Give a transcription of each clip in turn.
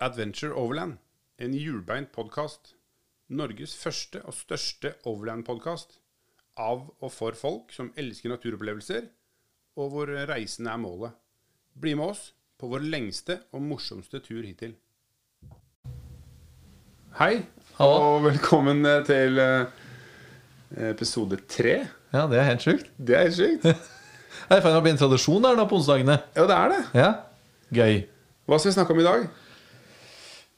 Adventure Overland, en hjulbeint podkast. Norges første og største overland-podkast. Av og for folk som elsker naturopplevelser, og hvor reisen er målet. Bli med oss på vår lengste og morsomste tur hittil. Hei, Hallo. og velkommen eh, til eh, episode tre. Ja, det er helt sjukt. Det er helt sykt. Jeg er i ferd med å bli en tradisjon der nå på onsdagene. Ja, det er det. Ja, Gøy. Hva skal vi snakke om i dag?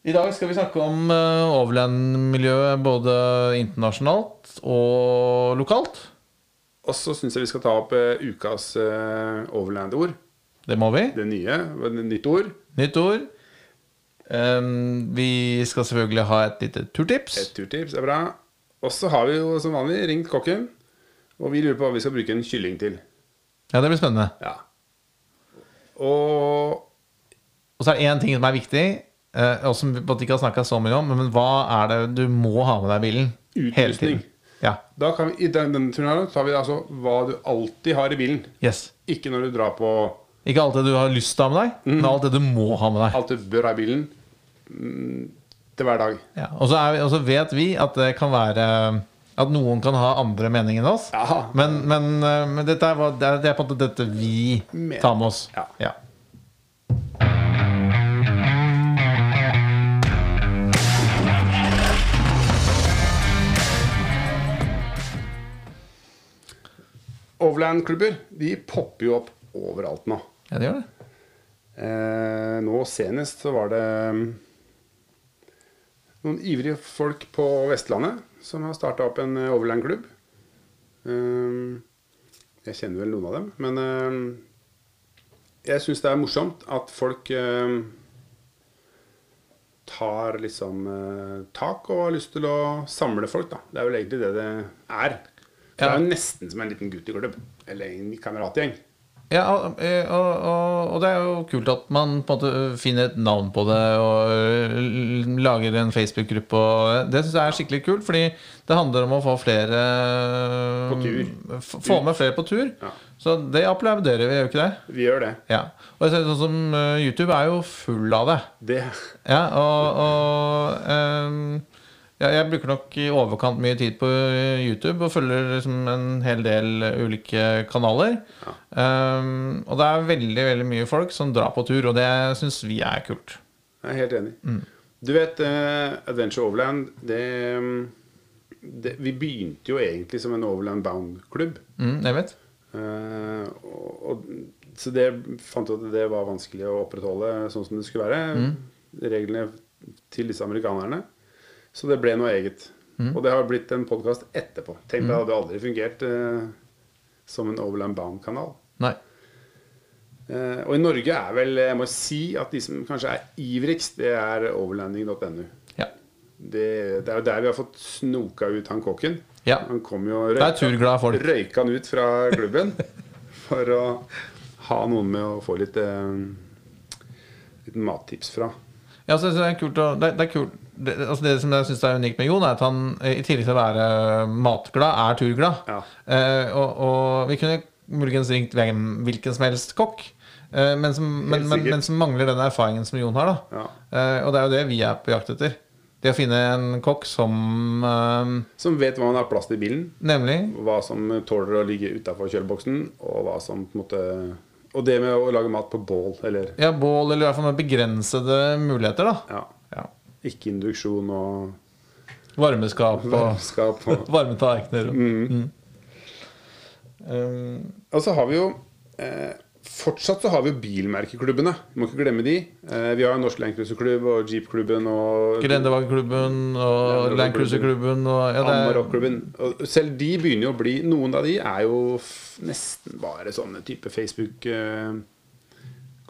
I dag skal vi snakke om eh, overland-miljøet både internasjonalt og lokalt. Og så syns jeg vi skal ta opp eh, ukas eh, overland-ord. Det må vi. Det nye. det er Nytt ord. Nytt ord. Ehm, vi skal selvfølgelig ha et lite turtips. Et turtips er bra. Og så har vi jo som vanlig ringt kokken. Og vi lurer på hva vi skal bruke en kylling til. Ja, Det blir spennende. Ja. Og Og så er det én ting som er viktig, eh, og som vi på en måte ikke har snakka så mye om, men hva er det du må ha med deg i bilen? Hele Utrustning. tiden. Ja. da kan vi, i den, denne turen her tar vi altså hva du alltid har i bilen. Yes. Ikke når du drar på Ikke alt det du har lyst til å ha med deg, Mm. men alt det du må ha med deg. alt du bør ha i bilen mm, til hver dag. Ja, og, så er vi, og så vet vi at det kan være At noen kan ha andre meninger enn oss. Ja. Men, men, eh, men dette er, hva- det er- det er på en måte dette vi Men- tar med oss. Ja. Overland-klubber de popper jo opp overalt nå. Ja, det gjør det. Eh, nå senest så var det mm, noen ivrige folk på Vestlandet som har starta opp en eh, overlandklubb. Eh, jeg kjenner vel noen av dem, men eh, jeg syns det er morsomt at folk eh, tar liksom eh, tak og har lyst til å samle folk, da. Det er vel egentlig det det er. Det Ja. er jo nesten som en liten gutteklubb. Eller en kameratgjeng. Ja, og, eh, og, og, og det er jo kult at man på en måte eh, finner et navn på det og eh, lager en Facebook-gruppe. og eh, Det syns jeg er skikkelig kult, fordi det handler om å få flere eh, På tur. f- Få med flere på tur. Ja. Så det applauderer vi, gjør vi ikke det? Vi gjør det. Ja. Og jeg ser sånn som eh, YouTube er jo full av det. Det Ja, og, og ehm, ja, jeg bruker nok i overkant mye tid på YouTube og følger liksom en hel del ulike kanaler. Ehm, og det er veldig veldig mye folk som drar på tur, og det syns vi er kult. Jeg er helt enig. Du vet, eh, Adventure Overland det, mm, det, Vi begynte jo egentlig som en Overland Bound-klubb. Mm, jeg vet. Eh, og, og, så det fant ut at det var vanskelig å opprettholde sånn som det skulle være. Reglene til disse amerikanerne. Så det ble noe eget. Og det har blitt en podkast etterpå. Tenk deg, det hadde aldri fungert eh, som en Overland Bound-kanal. Nei. Eh, og i Norge er vel, jeg må si at de som kanskje er ivrigst, det er overlanding.no. Ja. Det, det er jo der vi har fått snoka ut han kokken. Ja. Han kom jo og Det er røyka, turglade folk. røyka han ut fra klubben for å ha noen med å få litt, eh, litt mattips fra. Ja, så, så det er kult å, det, det, er kult. Det, det- altså det som jeg syns er unikt med Jon, er at han eh, i tillegg til å være matglad, er turglad. Ja. Eh, og, og vi kunne muligens ringt hvem, hvilken som helst kokk, eh, men, som, men, men, sikkert. men som mangler den erfaringen som Jon har. Da. Ja. Eh, og det er jo det vi er på jakt etter. Det å finne en kokk som eh, Som vet hva man har plass til i bilen, Nemlig. hva som tåler å ligge utafor kjøleboksen, og hva som på en måte Og det med å lage mat på bål, eller Ja, bål, eller i hvert fall med begrensede muligheter. da ja, ja. ikke induksjon og Varmeskap og varmeskap og varme tallerkener. Mm. Um, Og så har vi jo eh, Fortsatt så har vi jo bilmerkeklubbene. Vi må ikke glemme de. Eh, vi har jo Norsk Landcruiserklubb og Jeepklubben og Grendevagenklubben og Land Land Cruiser-klubben og ja, det er- Amarokklubben. Og selv de begynner jo å bli Noen av de er jo f nesten bare sånne type Facebook eh,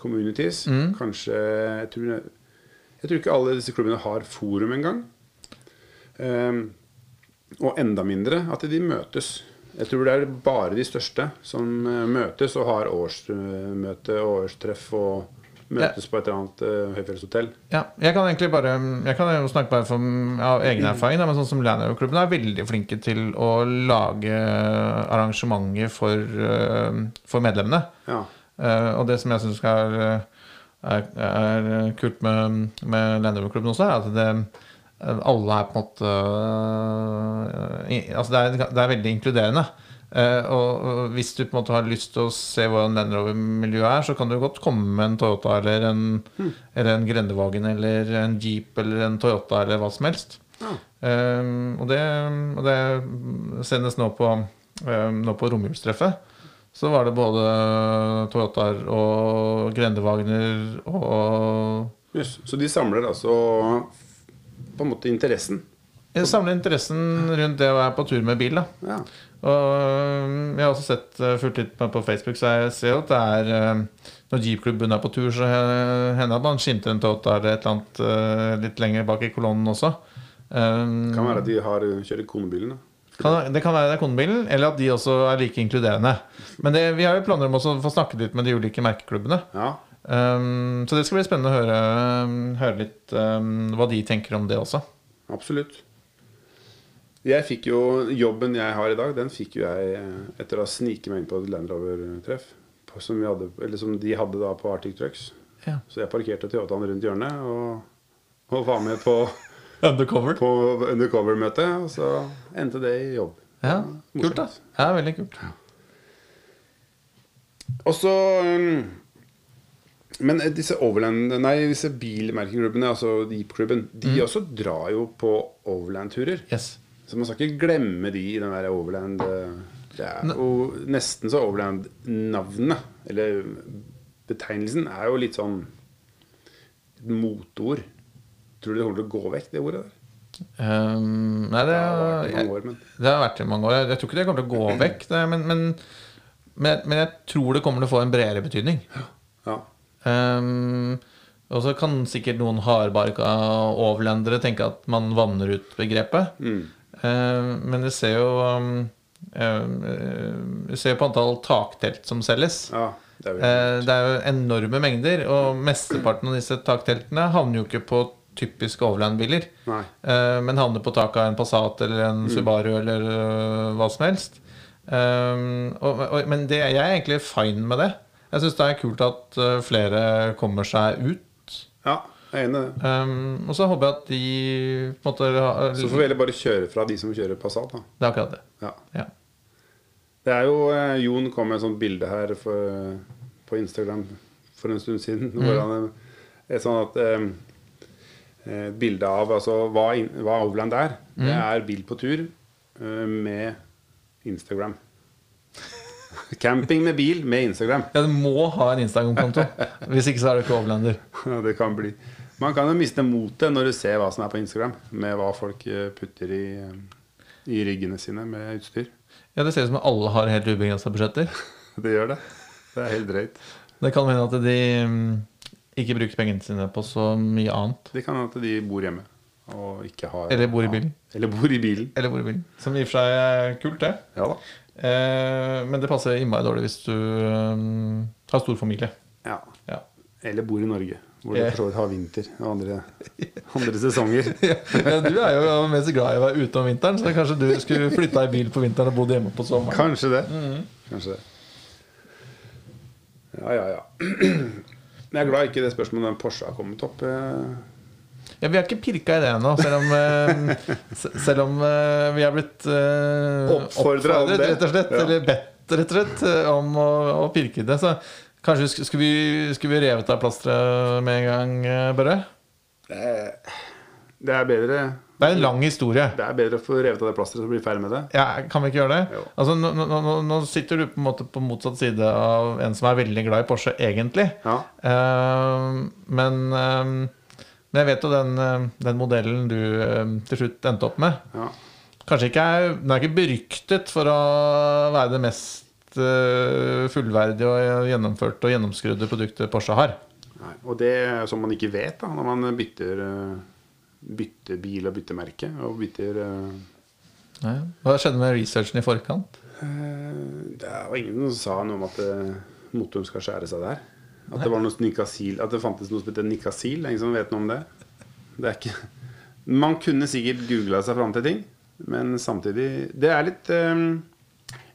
communities. Mm. Kanskje jeg tror, jeg tror ikke alle disse klubbene har forum engang. Eh, og enda mindre at de møtes. Jeg tror det er bare de største som eh, møtes og har årsmøte og årstreff og møtes på et eller annet eh, høyfjellshotell. ja, jeg kan egentlig bare Jeg kan jo snakke bare for, av egen erfaring, da, men sånn som Landover-klubben er veldig flinke til å lage arrangementer for, eh, for medlemmene. Ja. Eh, og det som jeg syns er eh, er, er eh, kult med, med Land Rover-klubben også, er at det, eh, alle er på en måte øh, i- Altså det er, det er veldig inkluderende. Eh, og og hvis du på en måte har lyst til å se hvordan Land Rover-miljøet er, så kan du godt komme med en Toyota eller en, eller en Grendevagen eller en Jeep eller en Toyota eller hva som helst. Ja. Um, og, det, og det sendes nå på, um, nå på romjulstreffet. Så var det både Toyotaer og Grendevagner og Jøss, Så de samler altså på en måte interessen. Jeg samler interessen rundt det å være på tur med bil. da Ja. Og um, jeg har også sett uh, fulgt litt med på Facebook, så jeg ser jo at det er um, Når Jeep-klubben er på tur, så he- hender det at man skimter en Toyota eller et eller annet uh, litt lenger bak i kolonnen også. Um, Kan være at de har, eh, kjører konebilen. da. Kan, det kan være det er konebilen, eller at de også er like inkluderende. Men det, vi har jo planer om også å få snakket litt med de ulike merkeklubbene. Ja. Um, så det skal bli spennende å høre, um, høre litt um, hva de tenker om det også. Absolutt. Jeg fikk jo Jobben jeg har i dag, den fikk jo jeg eh, etter å ha sniket meg inn på et Land Rover-treff. på- Som, vi hadde- eller som de hadde da på Arctic Trucks. Ja. Så jeg parkerte Toyotaen rundt hjørnet og, og var med på, Undercover. på undercover-møte. Og så endte det i jobb. Ja, kult, da. Ja, veldig kult. Og så um, Men disse overland Nei, disse bilmerkeklubbene, altså Jeep-klubben, de Mm. også drar jo på overland-turer. Yes. Så man skal ikke glemme de i den der Overland eh, Det er Ne- jo nesten så Overland-navnet, eller betegnelsen, er jo litt sånn et motord. Tror du det kommer til å gå vekk, det ordet der? Um, nei, det, Det har vært i jeg, mange år, men Det har vært i mange år. Jeg- Jeg tror ikke det kommer til å gå vekk. Det, men, men, men, men jeg tror det kommer til å få en bredere betydning. ja. Um, og så kan sikkert noen hardbarka overlendere tenke at man vanner ut begrepet. Mm. Um, men vi ser jo um, um, Vi ser på antall taktelt som selges. ja det er jo Eh, Det er jo enorme mengder, og mesteparten av disse takteltene havner jo ikke på typiske Overland-biler, Nei. Eh, men havner på taket av en Passat eller en Mm. Subaru eller øh, hva som helst. Um, og, og, men det, jeg er egentlig fine med det. Jeg syns det er kult at øh, flere kommer seg ut. Ja, jeg er enig i det. Um, og så håper jeg at de på en måte har- Så får vi heller bare kjøre fra de som kjører Passat, da. Det er akkurat det. Ja. Ja. Det er jo eh, Jon kom med et sånt bilde her for, eh, på Instagram for en stund siden. Hvor han, eh, er sånn at eh, eh, Et bilde av altså, hva, in- hva Overland er. Det er bil på tur eh, med Instagram. Camping med bil med Instagram. ja, du må ha en Instagram-konto. Hvis ikke så er du ikke Overlander. Ja, Det kan bli Man kan jo miste motet når du ser hva som er på Instagram, med hva folk eh, putter i, eh, i ryggene sine med utstyr. Ja, det ser ut som alle har helt ubegrensa budsjetter. Det gjør det. Det er helt drøyt. Det kan hende at de mm, ikke bruker pengene sine på så mye annet. Det kan hende at de bor hjemme og ikke har Eller bor i bilen. Eller bor i bilen. Eller hvor de vil. Som i og for seg er kult, det. Ja da. Eh, men det passer innmari dårlig hvis du mm, har stor familie. Ja. Ja. Eller bor i Norge, hvor Ja. de for så vidt har vinter og andre, andre sesonger. Ja, du er jo mest glad i å være ute om vinteren, så kanskje du skulle flytta i bil på vinteren og bodd hjemme på sommeren. Kanskje det. Mm. Kanskje det. Ja, ja, ja. Men jeg er glad ikke det spørsmålet om den Porsche har kommet opp. eh. Ja, vi har ikke pirka i det ennå, selv om, eh, s- selv om eh, vi er blitt eh, Oppfordret om det. rett og slett. Ja. Eller bedt, rett og slett, eh, om å, å pirke i det. Så kanskje sk- skulle vi, skulle vi revet av plasteret med en gang, eh, Børre? Det er bedre Det er en lang historie. Det er bedre å få revet av det plasteret og bli ferdig med det. Ja, kan vi ikke gjøre det? Jo. Altså, nå, nå, nå, nå sitter du på en måte på motsatt side av en som er veldig glad i Porsche, egentlig. Ja. Ehm, men, ehm, men jeg vet jo den, ehm, den modellen du ehm, til slutt endte opp med. ja. Kanskje ikke er, Den er ikke beryktet for å være det mest eh, fullverdige og gjennomførte og gjennomskrudde produktet Porsche har. Nei. Og det er som man ikke vet da, når man bytter, eh, bytter bil og bytter merke og bytter eh, Hva skjedde med researchen i forkant? Eh, Det var ingen som sa noe om at eh, motoren skal skjære seg der. At det, var noe nikasil, at det fantes noe som heter nikasil. Ingen som vet noe om det. det er ikke, man kunne sikkert googla seg fram til ting, men samtidig Det er litt eh,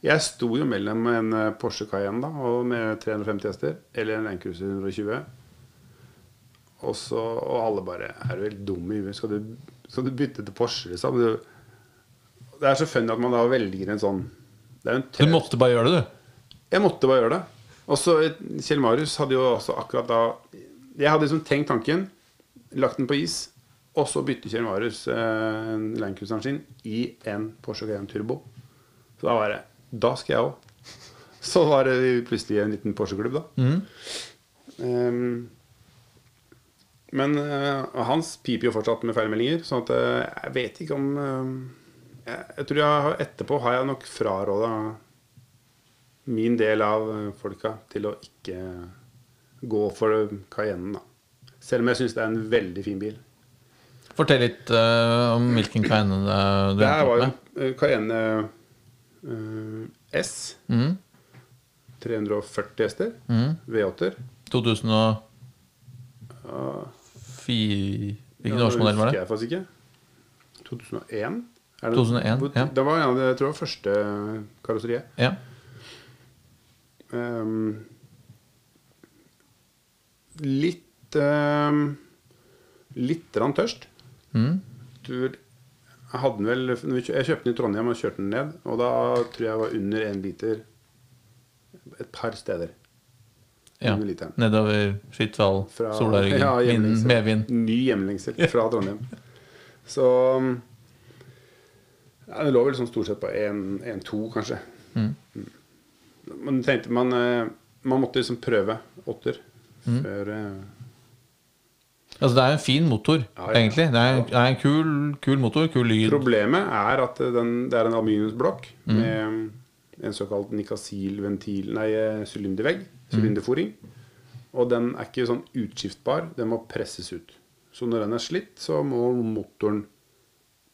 Jeg sto jo mellom en eh, Porsche Cayenne da, og med 350 hester eller en Land Cruiser 120. Og, så, og alle bare Er du helt dum i huet? Skal, du- skal du bytte til Porsche, liksom? Du, det er så funny at man da velger en sånn det er jo en Du tøff- måtte bare gjøre det, du. Jeg måtte bare gjøre det. Og så Kjell Marius hadde jo også akkurat da Jeg hadde liksom tenkt tanken, lagt den på is, og så bytte Kjell Marius eh, landcruiseren sin i en Porsche Cayenne Turbo. Så da var det Da skal jeg òg. Så var det plutselig en liten Porsche-klubb, da. Ehm, men eh, Hans piper jo fortsatt med feilmeldinger, sånn at eh, jeg vet ikke om eh, jeg, jeg tror jeg har- etterpå har jeg nok fraråda min del av eh, folka til å ikke gå for Cayennen, da. Selv om jeg syns det er en veldig fin bil. Fortell litt eh, om hvilken Cayenne eh, du Det her endte var opp jo med. eh, Cayenne eh, S. Mm, 340 hester. V8-er. 2004 Hvilken årsmodell var husker det? jeg faktisk ikke. 2001? Er 2001, hvor- ja. Det var en av de jeg tror det var første karosseriet. Ja. Ehm, litt um, Litt grann tørst. Mm. Du, jeg hadde den vel når vi kjø- Jeg kjøpte den i Trondheim og kjørte den ned. Og da tror jeg jeg var under én liter et par steder. ja. Under literen. Nedover Skytval, Fra- Solaryggen, ja, Vind, hjemlengsel. Medvind. Ny hjemlengsel fra Trondheim. Så ja, Det lå vel sånn stort sett på 1-2, kanskje. Mm. Men tenkte man eh, Man måtte liksom prøve åtter Mm. før eh, Altså, det er en fin motor, Ja, ja. egentlig. Det er, det er en kul, kul motor, kul lyd. Problemet er at eh, den, det er en aluminiumsblokk med en såkalt nikasil-ventil Nei, eh, sylindervegg. Sylinderforing. Og den er ikke sånn utskiftbar. Den må presses ut. Så når den er slitt, så må motoren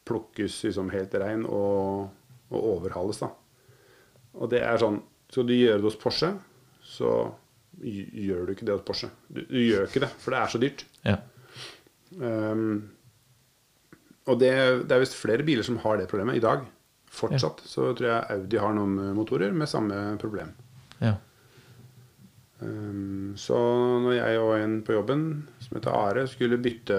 plukkes liksom helt rein og, og overhales, da. Og det er sånn Skal du gjøre det hos Porsche, så gj- gjør du ikke det hos Porsche. Du, du gjør ikke det, for det er så dyrt. Ja. Um, og det, det er visst flere biler som har det problemet i dag. Fortsatt så tror jeg Audi har noen eh, motorer med samme problem. ja. Um, så når jeg og en på jobben som heter Are, skulle bytte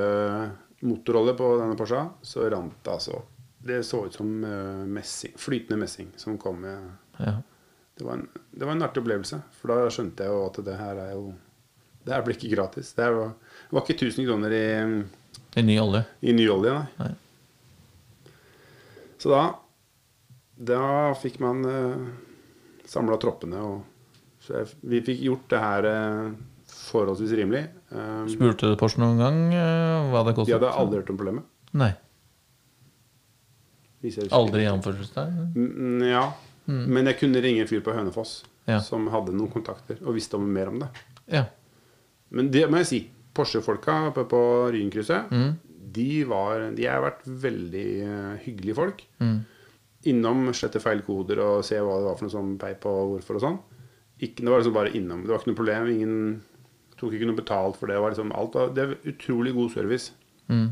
motorolje på denne Porscha, så rant det altså. Det så ut som eh, messing, flytende messing som kom med ja. det var, en, det var en artig opplevelse, for da skjønte jeg jo at det her er jo Det her blir ikke gratis. Det her var, det var ikke 1000 kroner i I ny olje. i nyolje, nei. Nei. Så da Da fikk man uh, samla troppene, og så jeg, vi fikk gjort det her eh, forholdsvis rimelig. Um, Spurte du Porsche noen gang eh, hva det de kostet? hadde aldri hørt om problemet. Nei. viser jeg husker. Aldri i anførselstegn? Mm, ja. Men jeg kunne ringe en fyr på Hønefoss Ja. som hadde noen kontakter og visste om mer om det. Ja. Men det må jeg si. Porsche-folka oppe på Ryenkrysset, Mm. de, var, de har vært veldig eh, hyggelige folk. Mm. Innom slette feil koder og se hva det var for noe sånn peip og hvorfor og sånn. Ikke, det var liksom bare innom. Det var ikke noe problem. Ingen tok ikke noe betalt for det. Det var liksom alt var, det var utrolig god service. Mm.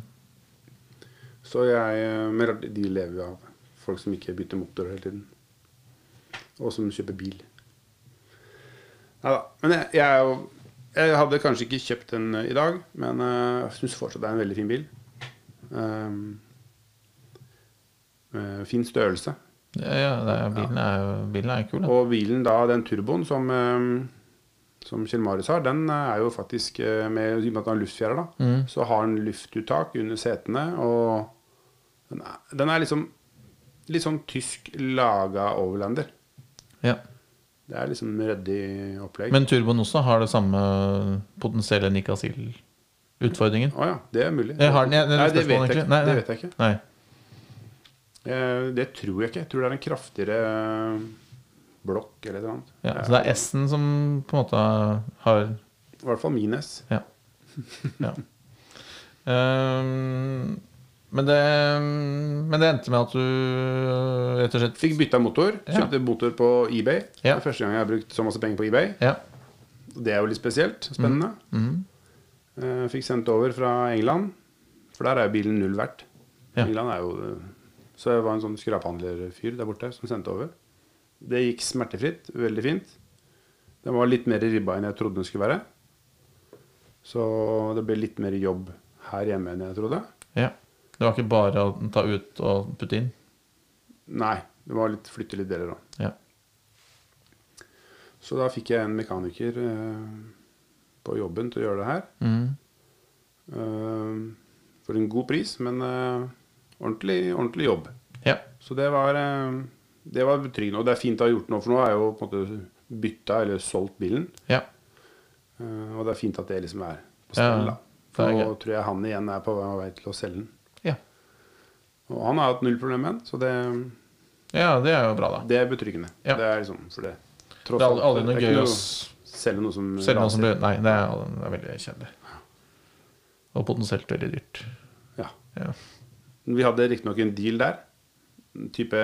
Så jeg eh, Men rart, de lever jo av folk som ikke bytter motor hele tiden. Og som kjøper bil. Nei da. Men jeg, jeg, er jo- jeg hadde kanskje ikke kjøpt den eh, i dag, men eh, jeg syns fortsatt det er en veldig fin bil. Um, eh, fin størrelse. Ja, ja, det er, bilen, er, jo- bilen er jo kul, da. Og bilen, da, den turboen som, eh, som Kjell Marius har, den er jo faktisk eh, med, I og med at den har luftfjærer, da, Mm. så har den luftuttak under setene, og den er, den er liksom litt sånn tysk laga overlander. Ja. Det er liksom ryddig opplegg. Men turboen også har det samme potensielle Nicasil-utfordringen. Å ja, det er mulig. Jeg har den, jeg, det, Nei, er det vet spørsmålet, jeg egentlig. ikke. Nei, Det nei. vet jeg ikke. Nei. Eh, Det tror jeg ikke. Jeg tror det er en kraftigere eh, blokk eller noe annet. Ja, så det er S-en som på en måte har I hvert fall min S. Ja. ja. Ehm, men, det, men det endte med at du rett og slett Fikk bytta motor. Ja. Kjøpte motor på eBay. Det Ja. er første gang jeg har brukt så masse penger på eBay. Ja. Det er jo litt spesielt. Spennende. Mhm. Eh, Fikk sendt over fra England, for der er jo bilen null verdt. Ja. England er jo Så jeg var en sånn skraphandlerfyr der borte som sendte over. Det gikk smertefritt. Veldig fint. Den var litt mer ribba enn jeg trodde den skulle være. Så det ble litt mer jobb her hjemme enn jeg trodde. Ja. Det var ikke bare å ta ut og putte inn. Nei, det var litt flytte litt deler òg. Ja. Så da fikk jeg en mekaniker eh, på jobben til å gjøre det her. Mm. Eh, for en god pris, men eh, ordentlig, ordentlig jobb. Ja. Så det var, eh, det var betryggende. Og det er fint å ha gjort noe, for nå har jeg jo på en måte bytta eller solgt bilen. ja. Eh, og det er fint at det liksom er på Ja, stell. da. det er For nå greit. tror jeg han igjen er på vei til å selge den. ja. Og han har hatt null problem med den, så det, Ja, det er jo bra, da. det er betryggende. Ja. Det er liksom for det. Tross Det er aldri, alt, aldri det noe er gøy ikke å s- selge noe som selge noe raser. som blir Nei, det er, det er veldig kjedelig. Og potensielt veldig dyrt. Ja. Ja. Vi hadde riktignok en deal der. En Type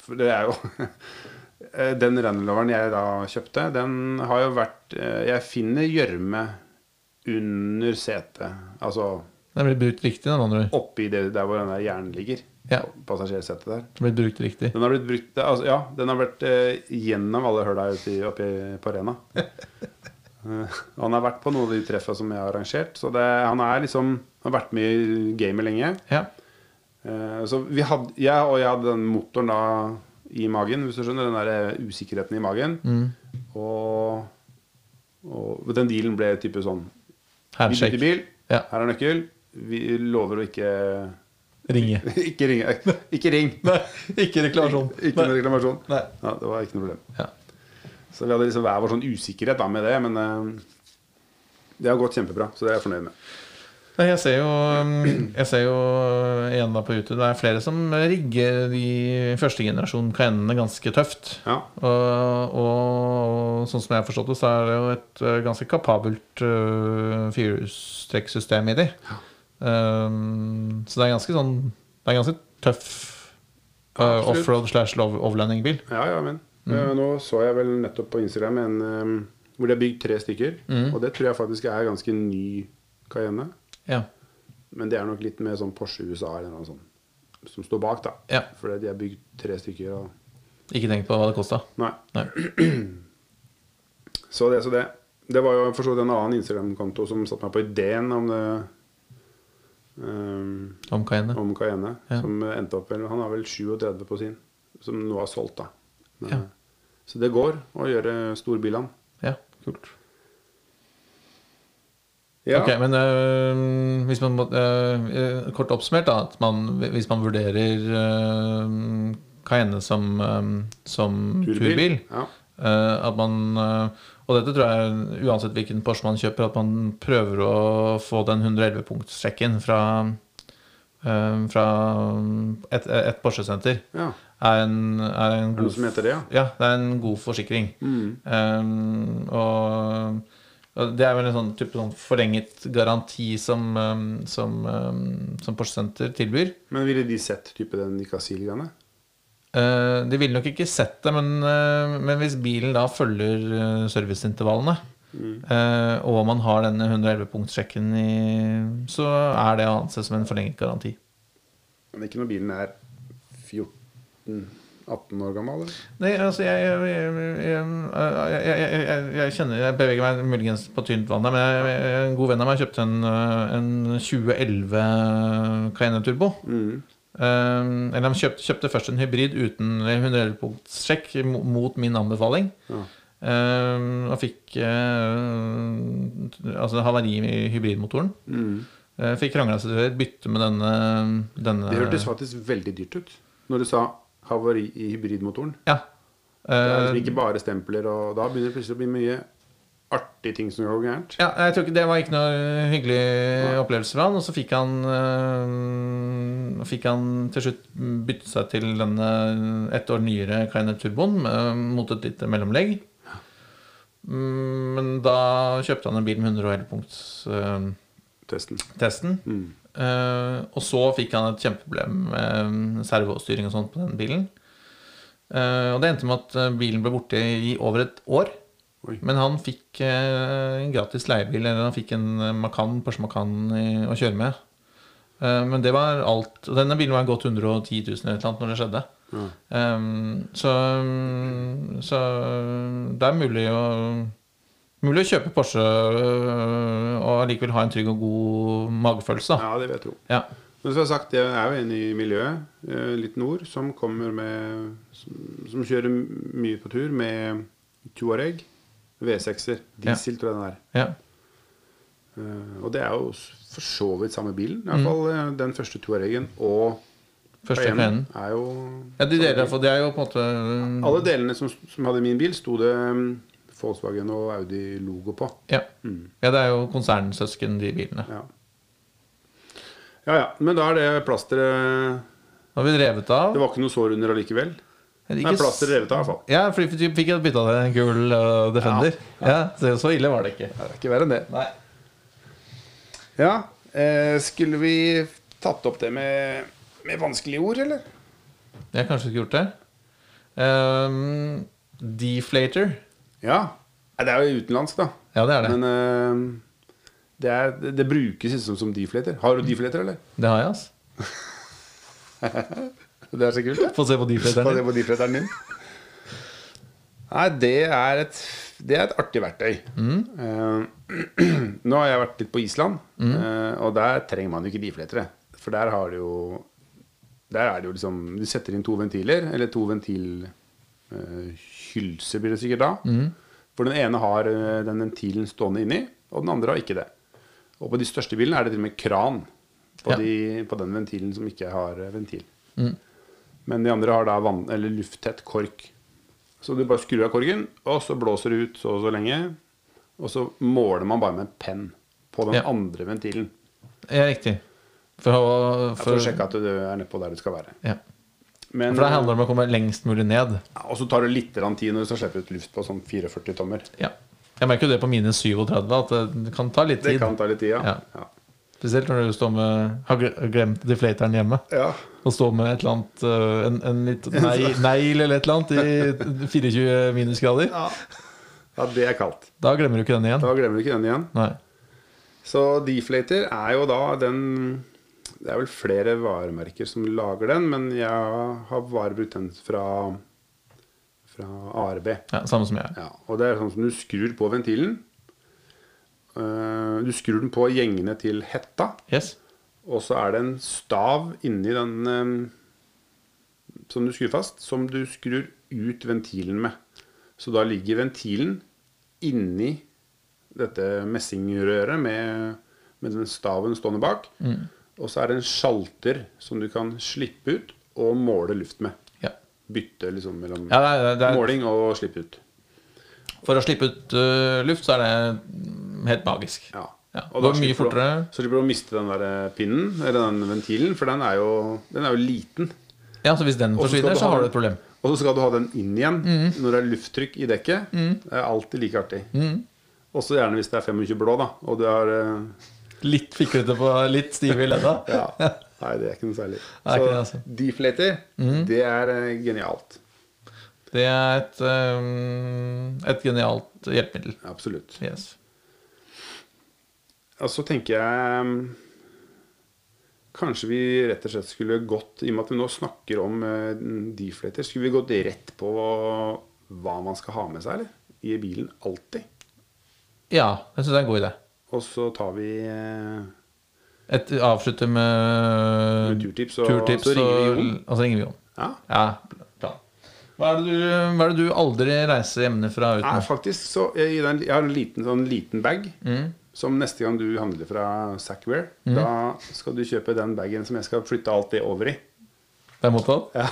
For det er jo Eh, Den Randeloveren jeg da kjøpte, den har jo vært eh, Jeg finner gjørme under setet. Altså Den blir brukt riktig, den andre. ord. oppi det der hvor den der hjernen ligger. Ja. Passasjersetet der. Den blir brukt riktig. Den har blitt brukt det- altså, Ja, den har vært eh, gjennom alle høla ute i- oppi på arena. Eh, han har vært på noen av de treffa som jeg har arrangert, så det, han er liksom Han har vært med i gamet lenge. Ja. Eh, Så vi hadde, jeg og jeg hadde den motoren da i magen, hvis du skjønner. Den der eh, usikkerheten i magen. mm. Og, og den dealen ble type sånn Vi bytter Handshake. bil, Ja. her er nøkkel. Vi lover å ikke Ringe. Ikke ringe. Ikke ring! Nei, ikke reklamasjon. Ikke noe reklamasjon. Nei. Ja, det var ikke noe problem. Ja. Så vi hadde liksom hver vår sånn usikkerhet da med det, men eh, det har gått kjempebra, så det er jeg fornøyd med. Nei, jeg ser jo, um, jeg ser jo uh, igjen da på YouTube Det er flere som rigger de første generasjon kajenene ganske tøft. Ja. Og, Eh, og sånn som jeg har forstått det, så er det jo et uh, ganske kapabelt uh, firehjulstrekksystem i de. Um, så det er ganske sånn Det er ganske tøff uh, Absolutt. offroad slash lov- overlandingbil. Ja, ja, men Mm. Eh, Nå så jeg vel nettopp på Instagram en eh, hvor det er bygd tre stykker. Mm. Og det tror jeg faktisk er ganske ny Cayenne. Ja. Men det er nok litt mer sånn Porsche USA eller noe sånt som står bak, da. Ja. For de har bygd tre stykker og Ikke tenk på hva det kosta. Nei. Nei. Så det, så det. Det var jo for så vidt en annen Instagram-konto som satte meg på ideen om det eh, Om Cayenne. Om Cayenne. Ja. Som eh, endte opp med Han har vel 37 på sin, som nå er solgt, da. Men, eh, Ja. Så det går å gjøre storbilene. Ja, kult. Ja. Ok, men øh, hvis man må, øh, øh, kort oppsummert da, at man, hvis man vurderer øh, Cayenne som, øh, som turbil, Ja. øh, at man, øh, og dette tror jeg uansett hvilken Porsche man kjøper, at man prøver å få den 111-punktssjekken fra, øh, fra et, et Porsche-senter, ja. er en, er en Er det noe god som heter det, ja? Mm. ja, det er en god forsikring. Um, og, og det er vel en sånn type sånn forlenget garanti som, um, som, um, som Porsche Center tilbyr. Men ville de sett type den Nicasil-greiene? Eh, de ville nok ikke sett det, men, eh, men hvis bilen da følger eh, serviceintervallene, eh, og man har denne 111-punktsjekken i Så er det å anse som en forlenget garanti. Men ikke når bilen er 14-18 år gammel? Eller? Nei, altså jeg Jeg, jeg, jeg, jeg, jeg, jeg, jeg kjenner Jeg beveger meg muligens på tynt vann der, men jeg, jeg, en god venn av meg kjøpte en, øh, en 2011 Cayenne Turbo. Mm. Um, eller han kjøpte, kjøpte først en hybrid uten 111-punktssjekk mo- mot min anbefaling. Ja. Um, og fikk øh, t- altså havari i hybridmotoren. Mm. Uh, fikk krangla seg til et bytte med denne, denne Det hørtes faktisk veldig dyrt ut når du sa havari i hybridmotoren. Ja. Det er Uh, liksom ikke bare stempler, og da begynner det plutselig å bli mye artige ting som går gærent. Ja, jeg tror ikke Det var ikke noe hyggelig opplevelse for han Og så fikk han øh, Fikk han til slutt bytte seg til denne ett år nyere Kainer Turboen øh, mot et lite mellomlegg. Mm, Men da kjøpte han en bil med 111-punktstesten. Testen. Eh, og så fikk han et kjempeproblem med servostyring og sånt på den bilen. Eh, og det endte med at eh, bilen ble borte i over et år. Oi. Men han fikk eh, en gratis leiebil, eller han fikk en eh, Macan, Porsche Macan i- å kjøre med. Eh, men det var alt. Og denne bilen var gått 110 000 eller noe når det skjedde. Ja. Eh, så, så det er mulig å Mulig å kjøpe Porsche øh, og allikevel ha en trygg og god magefølelse. Da. Ja, det vil jeg tro. Ja. Men som jeg har sagt, jeg er jo inne i miljøet, eh, litt nord, som kommer med Som, som kjører mye på tur med Tuareg V6-er. Diesel, tror jeg den er. Ja. Eh, Og det er jo s- for så vidt samme bilen. Iallfall mm. den første Tuaregen og Første Cayenne Cayenne. er jo Ja, de deler i hvert fall. Det er jo på en måte Alle delene som, som hadde min bil, sto det mm, Volkswagen og Audi-logo på. mm, Ja. Mm. ja, det er jo konsernsøsken, de bilene. Ja. ja ja. Men da er det plasteret Nå har vi drevet av. Det var ikke noe sår under allikevel? Eller Nei, ikke s- plasteret revet av, i hvert fall. Ja, fordi vi fikk jo bytta til en gul øh, Defender. Ja, så, så ille var det ikke. Det er ikke verre enn det. Nei. Ja, eh, Skulle vi tatt opp det med, med vanskelige ord, eller? Jeg kanskje ikke gjort det. Ehm, deflator. Ja. Nei, Det er jo utenlandsk, da. Ja, det er det. Men eh, det, er, det, det brukes liksom som deflater. Har du deflater, eller? Det har jeg, altså. Det er så kult, det. Få se på Ta deflateren. det din. på deflateren din. Nei, det er et, det er et artig verktøy. Mm. Eh, nå har jeg vært litt på Island, Mm. eh, og der trenger man jo ikke defletere. For der har du jo Der er det jo liksom Du setter inn to ventiler, eller to ventilhylser, blir det sikkert da. Mm. For den ene har eh, den ventilen stående inni, og den andre har ikke det. Og på de største bilene er det til og med kran på, Ja. de, på den ventilen som ikke har eh, ventil. Men de andre har da vann, eller lufttett kork. Så du bare skrur av korken, og så blåser det ut så og så lenge. Og så måler man bare med en penn på den Ja. andre ventilen. Ja, riktig. For å For å for, sjekke at du er nedpå der du skal være. ja. Men, for det handler om å komme lengst mulig ned. Ja, Og så tar det litt grann tid når du skal slippe ut luft på sånn 44 tommer. Ja. Jeg merker jo det på mine 37, at eh, det kan ta litt Det tid. kan ta litt tid, ja. Ja. ja. Spesielt når du står med, har gle- glemt deflateren hjemme. Ja. Og står med et eller annet øh, En, en litt nei- negl eller et eller annet i 24 minusgrader. Ja. det er kaldt. Da glemmer du ikke den igjen. Da glemmer du ikke den igjen. Nei. Så deflater er jo da den Det er vel flere varemerker som lager den, men jeg har bare brukt den fra, fra ARB. Ja, samme som jeg. Ja, og det er sånn som du skrur på ventilen. Eh, Du skrur den på gjengene til hetta, Yes. og så er det en stav inni den eh, som du skrur fast, som du skrur ut ventilen med. Så da ligger ventilen inni dette messingrøret med, med den staven stående bak. Mm. Og så er det en sjalter som du kan slippe ut og måle luft med. Ja. Bytte liksom mellom Ja, det er, det er, måling og slippe ut. for å slippe ut øh, luft, så er det mm, helt magisk. Ja. Ja, Og det da går mye slipper du- fortere. Så slipper du å miste den der eh, pinnen, eller den ventilen, for den er jo, den er jo liten. Ja, Så hvis den Og så skal forsvinner, så ha har du den- et problem. Og så skal du ha den inn igjen Mm. når det er lufttrykk i dekket. Det er alltid like artig. Mm. Også gjerne hvis det er 25 blå, da, og du har eh, Litt fiklete på litt stive i ledda. Ja. Nei, det er ikke noe særlig. Nei, så ikke det, altså. Mm. deflater, det er eh, genialt. Det er et, øh, et genialt hjelpemiddel. Absolutt. Yes. Og så tenker jeg mm, Kanskje vi rett og slett skulle gått I og med at vi nå snakker om eh, deflater, skulle vi gått rett på hva man skal ha med seg eller? i bilen alltid. Ja, jeg syns det er en god idé. Og så tar vi eh, Et, avslutte med, Med turtips, og turtips, så ringer vi og- Jon. Og så ringer vi Jon. Ja. Ja, bra. Hva er det du, hva er det du aldri reiser hjemmefra uten? Nei, faktisk så jeg, gir deg en- jeg har en liten, sånn liten bag som neste gang du handler fra Sackwear, da skal du kjøpe den bagen som jeg skal flytte alt det over i. Det er mottatt? Ja.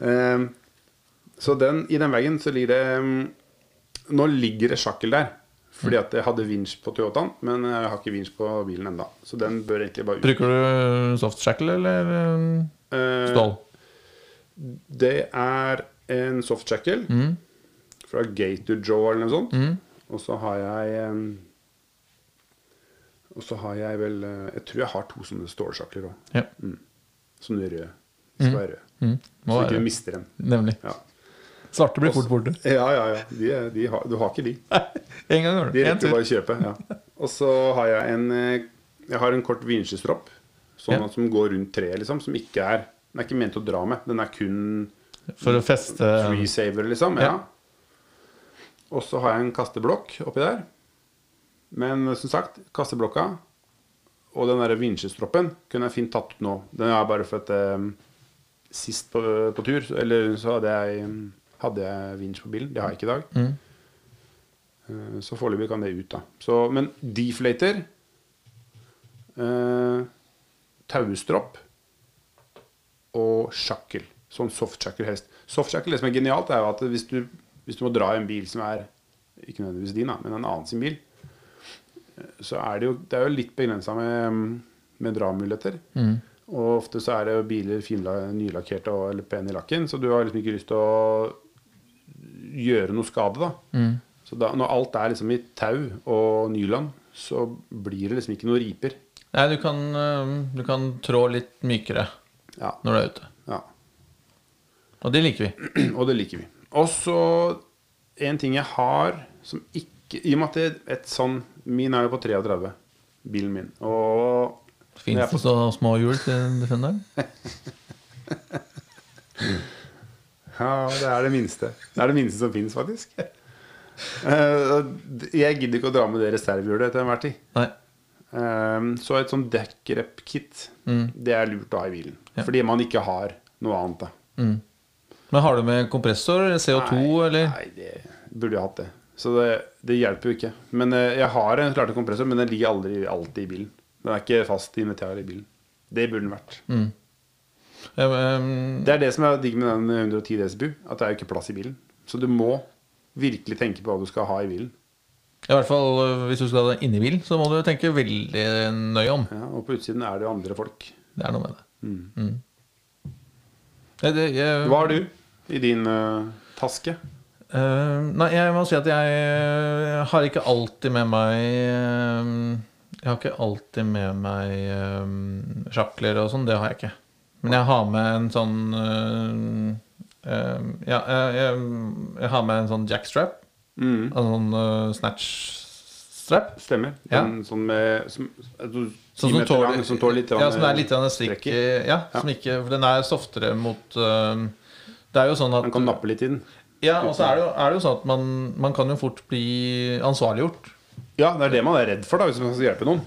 Ehm, så den, i den veggen så ligger det mm, Nå ligger det sjakkel der. Fordi at jeg hadde vinsj på Toyotaen, men jeg har ikke vinsj på bilen enda Så den bør egentlig bare ut. Bruker du soft shackle eller um, Eh, stål? det er en soft shackle Mm. fra Gate to Joe eller noe sånt. Og så har jeg em, Og så har jeg vel eh, Jeg tror jeg har to sånne stålsjakler òg. Ja. Sånne røde. De skal være røde. Mm. Så Må ikke være. du mister dem. Nemlig. Ja. Svarte blir fort borte. Ja, ja, ja. De, er- de har, du har ikke de. En gang De går det. En rekker tur. bare å kjøpe. Ja. Og så har jeg en eh, Jeg har en kort vinsjestropp sånn Ja. at- som går rundt treet, liksom. Som ikke er Den er ikke ment å dra med. Den er kun For å feste um, tree saver, liksom. Ja. Ja. Og så har jeg en kasteblokk oppi der. Men eh, som sagt, kasteblokka og den der vinsjestroppen kunne jeg fint tatt ut nå. Den er bare for at eh, sist på, på tur, så- eller så hadde jeg, mm, hadde jeg vinsj på bilen. Det har jeg ikke i dag. Eh, Så foreløpig kan det ut, da. Så, men deflater eh, Tauestropp og sjakkel. Sånn softsjakkel helst. Softsjakkel, det som er genialt, er jo at hvis du, hvis du må dra i en bil som er Ikke nødvendigvis din, da, men en annen sin bil, eh, så er det jo, det er jo litt begrensa med, mm, med dramuligheter. Og ofte så er det jo biler finla- nylakkerte og eller pene i lakken, så du har liksom ikke lyst til å gjøre noe skade, da. Så da, når alt er liksom i tau og nyland, så blir det liksom ikke noen riper. Nei, du kan, eh, du kan trå litt mykere Ja. når du er ute. ja. Og det liker vi. Og det liker vi. Og så en ting jeg har som ikke I og med at det et sånn Min er jo på 33, bilen min. Og Fins når jeg det så små hjul til Defenderen? Ja, det er det minste. Det er det minste som finnes, faktisk. Eh, og jeg gidder ikke å dra med det reservehjulet til enhver tid. Nei. Ehm, Så et sånn dekkrep-kit, det er lurt å ha i bilen. Ja. Fordi man ikke har noe annet. da. Mm. Men har du med kompressor? eller CO2, eller? Nei, det burde jeg hatt det. Så det, det hjelper jo ikke. Men eh, jeg har en klarte kompressor, men den ligger aldri alltid i bilen. Den er ikke fast i inventaret i bilen. Det burde den vært. Mm. Ja, men, Det er det som er digg med den 110 DSBU, at det er jo ikke plass i bilen. Så du må virkelig tenke på hva du skal ha i bilen. I hvert fall øh, hvis du skal inn i bilen, så må du tenke veldig nøye om. Ja, og på utsiden er det jo andre folk. Det er noe med det. Mm. Nei, det jeg, Hva har du i din eh, taske? øh, nei, jeg må si at jeg øh, har ikke alltid med meg øh, Jeg har ikke alltid med meg øh, sjakler og sånn. Det har jeg ikke. Men jeg har med en sånn øh, øh, Ja, jeg, jeg, jeg har med en sånn jackstrap. Mm. En sånn øh, snatchstrap. Stemmer. Ja. Den som, med, som, altså, Sånn ti som meter tåler, lang, som tåler litt ja, grann, som er litt grann strekk strikk i. i. Ja, som ikke, for den er softere mot øhm, Det er jo sånn at Man kan nappe litt i eh, den. Ja, og så er det jo, er det jo sånn at man, man kan jo fort bli ansvarliggjort. Ja, det er det man er redd for da, hvis man skal hjelpe noen.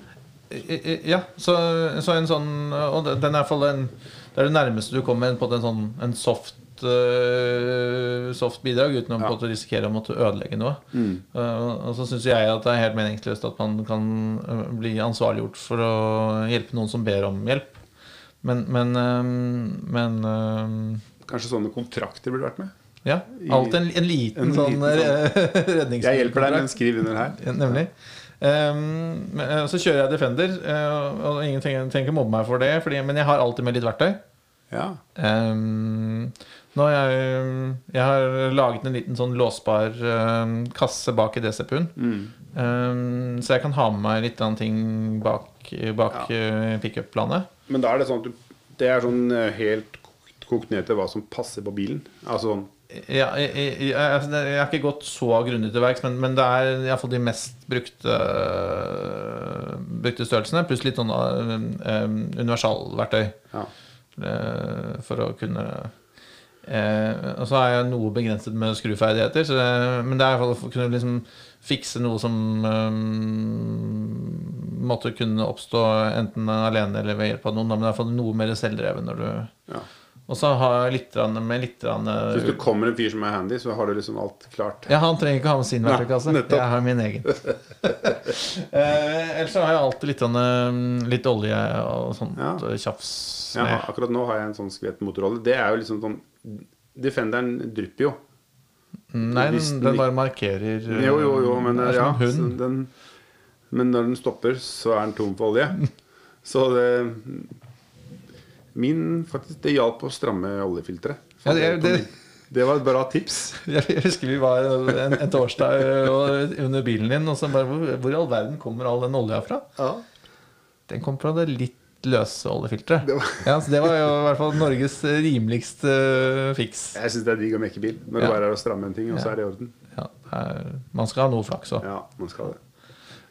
I- i- Ja, så, så en sånn Og den er i hvert fall en, det er det nærmeste du kommer på en sånn en soft øh, Soft bidrag uten å på en måte risikere å måtte ødelegge noe. Øh, og så syns jeg at det er helt meningsløst at man kan øh, bli ansvarliggjort for å hjelpe noen som ber om hjelp. Men, men, øhm, men øhm, Kanskje sånne kontrakter burde vært med. Ja. Alltid en, en liten En sånn liten øh, redningskontrakt. Jeg hjelper deg, men skriv under her. Ja, Nemlig. Ehm, men, eh, så kjører jeg Defender, eh, og ingen trenger, trenger ikke mobbe meg for det, fordi, men jeg har alltid med litt verktøy. Ja. Ehm, nå har jeg, jeg har laget en liten sånn låsbar eh, kasse bak i DCP-en, Mm. Ehm, så jeg kan ha med meg litt annen ting bak, bak eh, pickup-planet. Men da er det sånn at du, det er sånn eh, helt kokt- kokt ned til hva som passer på bilen. Altså sånn Ja, jeg, jeg, jeg, altså, det- jeg har ikke gått så grundig til verks, men, men det er iallfall de mest brukte, brukte størrelsene, pluss litt sånn eh, eh, universalverktøy. Ja. Eh, for å kunne eh, Og så er jeg noe begrenset med skruferdigheter, så det, men det er i hvert fall for å kunne liksom fikse noe som eh, måtte kunne oppstå enten alene eller ved hjelp av noen. Da, men det er i hvert fall noe mer selvdrevet når du ja. Og så har jeg litt grann med litt grann, eh, Så Hvis det kommer en fyr som er handy, så har du liksom alt klart. ja, han trenger ikke ha med sin Nei, verktøykasse. nettopp. Jeg har min egen. eh, ellers så har jeg alltid litt, sånn, eh, litt olje og sånt Ja. eh, tjafs. Jeg med. har, akkurat nå har jeg en sånn skvett motorolle. Det er jo liksom sånn Defenderen drypper jo. Nei, Hvis den, den den ikke- bare markerer eh, Jo, jo, jo, men det er ja, så som en hund. den, Men når den stopper, så er den tom for olje. Så det Min faktisk Det hjalp å stramme oljefilteret. Ja, det- det- det var et bra tips. Jeg husker vi var en, en torsdag eh, og under bilen din, og så bare hvor, hvor i all verden kommer all den olja fra? Ja. Den kom fra det litt løse oljefilteret. Det var- Ja, så det var jo i hvert fall Norges rimeligste eh, fiks. Jeg syns det er digg å mekke bil når Ja. det bare er å stramme en ting, og så er det i orden. Ja, det er, man skal ha noe flaks òg. Ja, man skal det.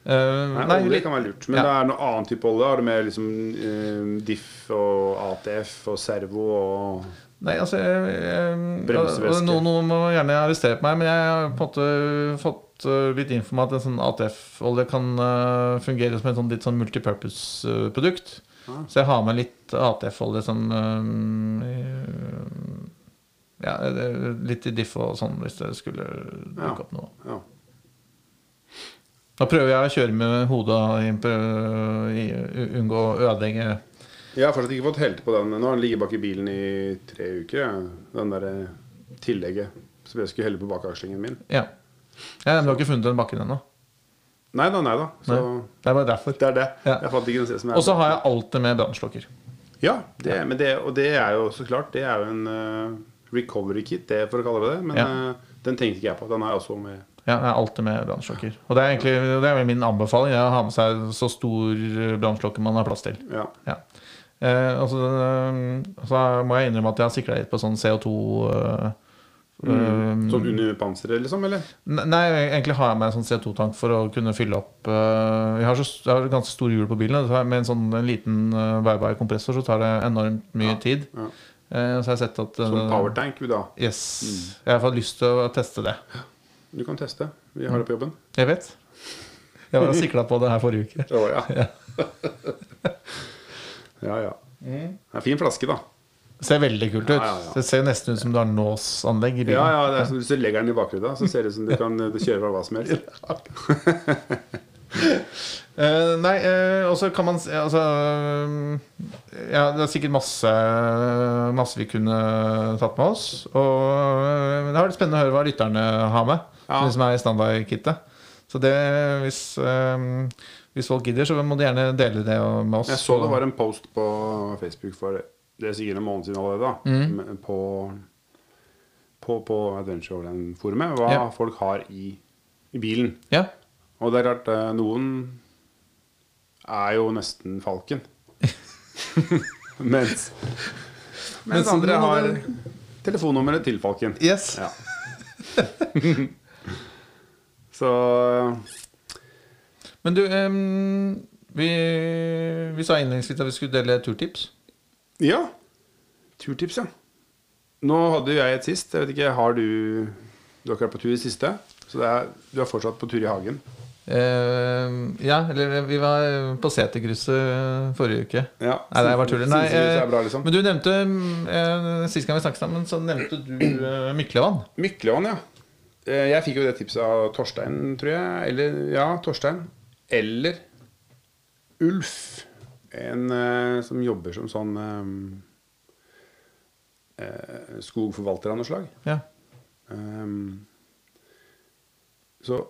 Eh, Nei, nei, olje litt- kan være lurt, men ja. det er noe annen type olje. Har du med liksom eh, diff og ATF og servo og Nei, altså jeg- jeg- Bremsevæske. og Noen, noen må gjerne arrestere på meg, men jeg har på en måte fått eh, litt info om at en sånn ATF-olje kan eh, fungere som et sånn litt sånn multipurpose-produkt. Ah. Så jeg har med litt ATF-olje som eh, Ja, eh, litt i diff og sånn, hvis det skulle Ja. dukke opp noe. ja. Da prøver jeg å kjøre med hodet inn på i- Unngå å ødelegge Jeg har fortsatt ikke fått helt på den. Nå har den ligget bak i bilen i tre uker. jeg. Den derre tillegget som jeg skulle helle på bakakslingen min. Ja. ja men du har ikke funnet den bakken ennå? Nei da, nei da. Så Nei. Det er bare derfor. det er det. Ja. Jeg fant ikke den som Og så har jeg alltid med brannslukker. Ja, det, men det, og det er jo så klart. Det er jo en eh, recovery kit, det for å kalle det det. Men Ja. eh, den tenkte ikke jeg på. Den er også med Ja, jeg er alltid med brannslokker. Og det er egentlig det er vel min anbefaling. Det er å ha med seg så stor eh, brannslokke man har plass til. Ja. Ja. Eh, og så, eh, så må jeg innrømme at jeg har sikla litt på sånn CO2 eh, eh, Sånn under panseret, liksom? Eller? ne- Nei, egentlig har jeg med en sånn CO2-tank for å kunne fylle opp eh, Jeg har, så, st- jeg har ganske store hjul på bilen. og Med en sånn liten eh, bærbar kompressor så tar det enormt mye tid. Ja. Eh, så jeg har sett at eh, Sånn powertank, da. Yes. Jeg har fått lyst til å teste det. Du kan teste. Vi har det på jobben. Jeg vet. Jeg var sikla på det her forrige uke. Å, ja. ja, ja. Mm. Det er en fin flaske, da. Ser veldig kult ut. Ja, ja, ja. Det ser nesten ut som du har nåsanlegg i bilen. Ja, ja, det er som Hvis du legger den i bakhodet, så ser det ut som du kan eh, kjøre fra hva som helst. Eh, nei, eh, og så kan man s- altså, eh, ja, Det er sikkert masse, masse vi kunne tatt med oss. Og eh, men det har vært spennende å høre hva lytterne har med. Ja. De som er i standardkittet. Så det, hvis, eh, hvis folk gidder, så må de gjerne dele det med oss. Jeg så det var en post på Facebook for det er sikkert en måned siden allerede, da. men På, på, på Adventure Overland-forumet. Hva Ja. folk har i, i bilen. Ja. Og det er klart, eh, noen er jo nesten Falken. mens, Mens mens andre noen har andre- telefonnummeret til Falken. Yes. Ja. Så eh, Men du, em, vi, vi sa innledningsvis at vi skulle dele turtips. ja. Turtips, ja. Nå hadde jo jeg et sist. Jeg vet ikke, har du Du har ikke vært på tur i det siste? Så det er, du er fortsatt på tur i hagen? Eh, ja, eller vi var eh, på Seterkrysset eh, forrige uke. Ja. Nei, det var tuller. Nei, Sinnssykt eh, er bra, liksom. Men du nevnte mm, eh, Sist gang vi snakket sammen, så nevnte du eh, Myklevann. Myklevann, ja. Eh, Jeg fikk jo det tipset av Torstein, tror jeg. Eller ja, Torstein. Eller Ulf. En eh, som jobber som sånn eh, eh, skogforvalter av noe slag. Ja. Ehm, så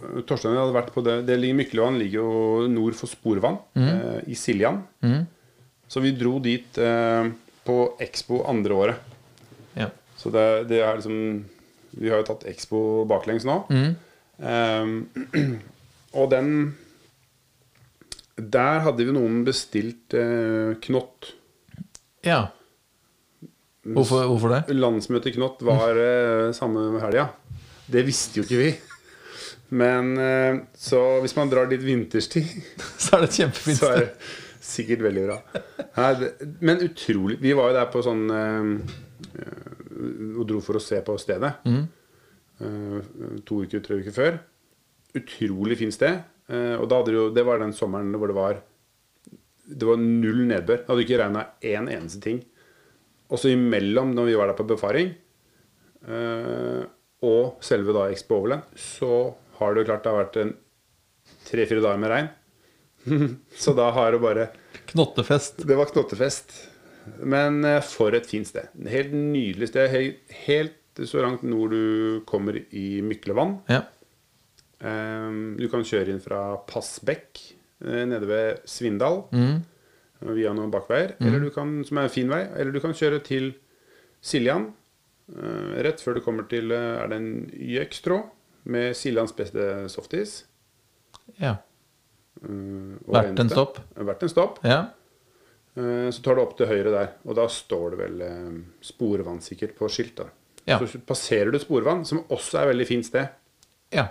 eh, Torstein hadde vært på det, det ligger, Myklevann ligger jo nord for Sporvann, eh, i Siljan. Mhm. Så vi dro dit eh, på Expo andre året. ja. Så det, det er liksom Vi har jo tatt Expo baklengs nå. Mhm. Ehm, og den Der hadde vi noen bestilt eh, Knott. ja. Hvorfor, hvorfor det? Landsmøtet i Knott var eh, samme helga. Det visste jo ikke vi. Men eh, så hvis man drar dit vinterstid Så er det et kjempefint Så er sted. det sikkert veldig bra. Nei, det, men utrolig Vi var jo der på sånn eh, eh, Og dro for å se på stedet. Eh, to uker, tre uker før. Utrolig fint sted. Eh, og da hadde det jo Det var den sommeren hvor det var Det var null nedbør. Det hadde ikke regna én eneste ting. Og så imellom, når vi var der på befaring, eh, og selve da Expo Overland, så har det jo klart det har vært en tre-fire dager med regn. Så da har det bare Knottefest. Det var knottefest. Men eh, for et fint sted. Helt nydelig sted. Helt, helt så langt nord du kommer i Myklevann. Ja. Ehm, Du kan kjøre inn fra Passbekk eh, nede ved Svindal Mm. via noen bakveier, Mhm. eller du kan, som er en fin vei. Eller du kan kjøre til Siljan eh, rett før du kommer til eh, Er det en Jøkstrå med Siljans beste softis? ja. eh, og Hvert en eneste. stopp. Hvert en stopp. Ja. Eh, Så tar du opp til høyre der, og da står det vel eh, sporvann sikkert på skilt. da. Ja. Så passerer du sporvann, som også er et veldig fint sted. ja.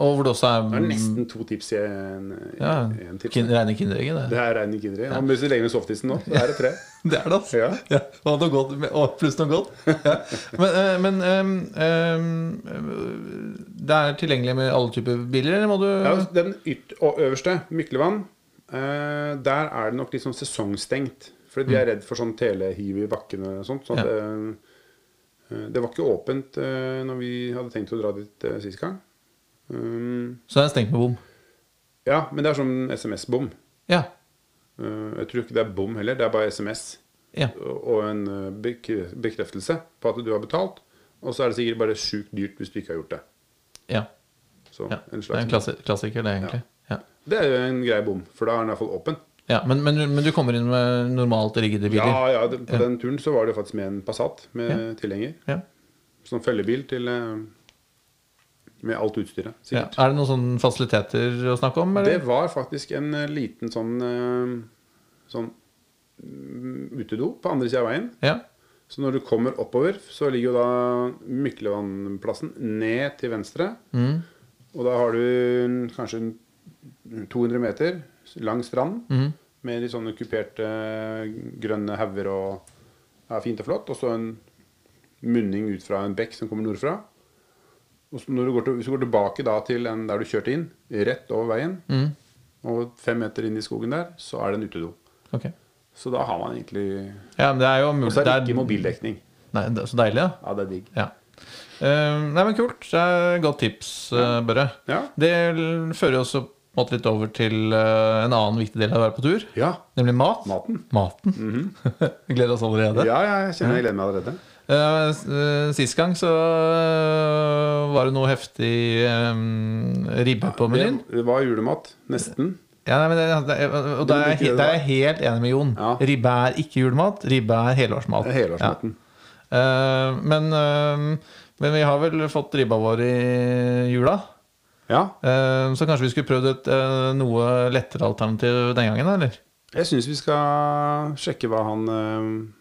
Og hvor det også er, Det er nesten to tips i en, Mm. ja, i en tips. kin rene kinderegg. Det. Det her regner ikke dere. Han må legge med softisen nå. Det her er tre. det er det, altså. Ja. Ja, og noe godt, med- og pluss noe godt. Ja. Men, eh, men eh, eh, det er tilgjengelig med alle typer biler, eller må du Ja, den yt og øverste, Myklevann, eh, der er det nok liksom sesongstengt. Fordi de Mm. er redd for sånn telehiv i bakken og sånt. Så at, eh, eh, det var ikke åpent eh, når vi hadde tenkt å dra dit eh, sist gang. Um, Så det er stengt med bom. ja, men det er sånn SMS-bom. Ja. Eh, jeg tror ikke det er bom heller, det er bare SMS. ja. og en eh, bekre- bekreftelse på at du har betalt. Og så er det sikkert bare sjukt dyrt hvis du ikke har gjort det. ja. Så ja. en Det er en slags klassi klassiker, det, egentlig. Ja. Det er jo en grei bom, for da er den iallfall åpen. Ja, men, men, men du kommer inn med normalt riggede Ja, biler? ja, det, på den turen så var det jo faktisk med en Passat med tilhenger. Ja. Sånn følgebil til eh, Med alt utstyret, Ja. sikkert. Er det noen sånne fasiliteter å snakke om? Det Eller? var faktisk en eh, liten sånn eh, Sånn mm, utedo på andre sida av veien. Ja. Så når du kommer oppover, så ligger jo da Myklevannplassen ned til venstre. Mm. Og da har du en- kanskje en 200 meter lang strand Mhm. med litt sånne kuperte grønne hauger og ja, fint og flott. Og så en munning ut fra en bekk som kommer nordfra. Og så når du går til, hvis du går tilbake da til den der du kjørte inn, rett over veien, Mm. og fem meter inn i skogen der, så er det en utedo. Ok. Så da har man egentlig Ja, men det er jo mulig Og så er det det er- ikke mobildekning. Nei, det er Så deilig, da. Ja, det er digg. Ja. Eh, nei, men kult. Det er et godt tips, eh, Børre. Ja. Det l- fører oss på en måte litt over til eh, en annen viktig del av å være på tur, Ja. nemlig mat. Maten. Maten. Vi gleder oss allerede. Mhm. Ja, ja, jeg kjenner jeg gleder meg allerede. Eh, s- eh, sist gang så eh, var det noe heftig eh, ribbe Det, på menyen. det var julemat. Nesten. Ja, nei, men det, det, Det må og der er, du jeg ikke he- gjøre, der er da. jeg helt enig med Jon. Ja. Ribbe er ikke julemat, ribbe er helårsmat. Det er Helårsmaten. Ja. Eh, men, eh, men vi har vel fått ribba vår i jula. Ja. Eh, så kanskje vi skulle prøvd et eh, noe lettere alternativ den gangen, eller? Jeg syns vi skal sjekke hva han eh,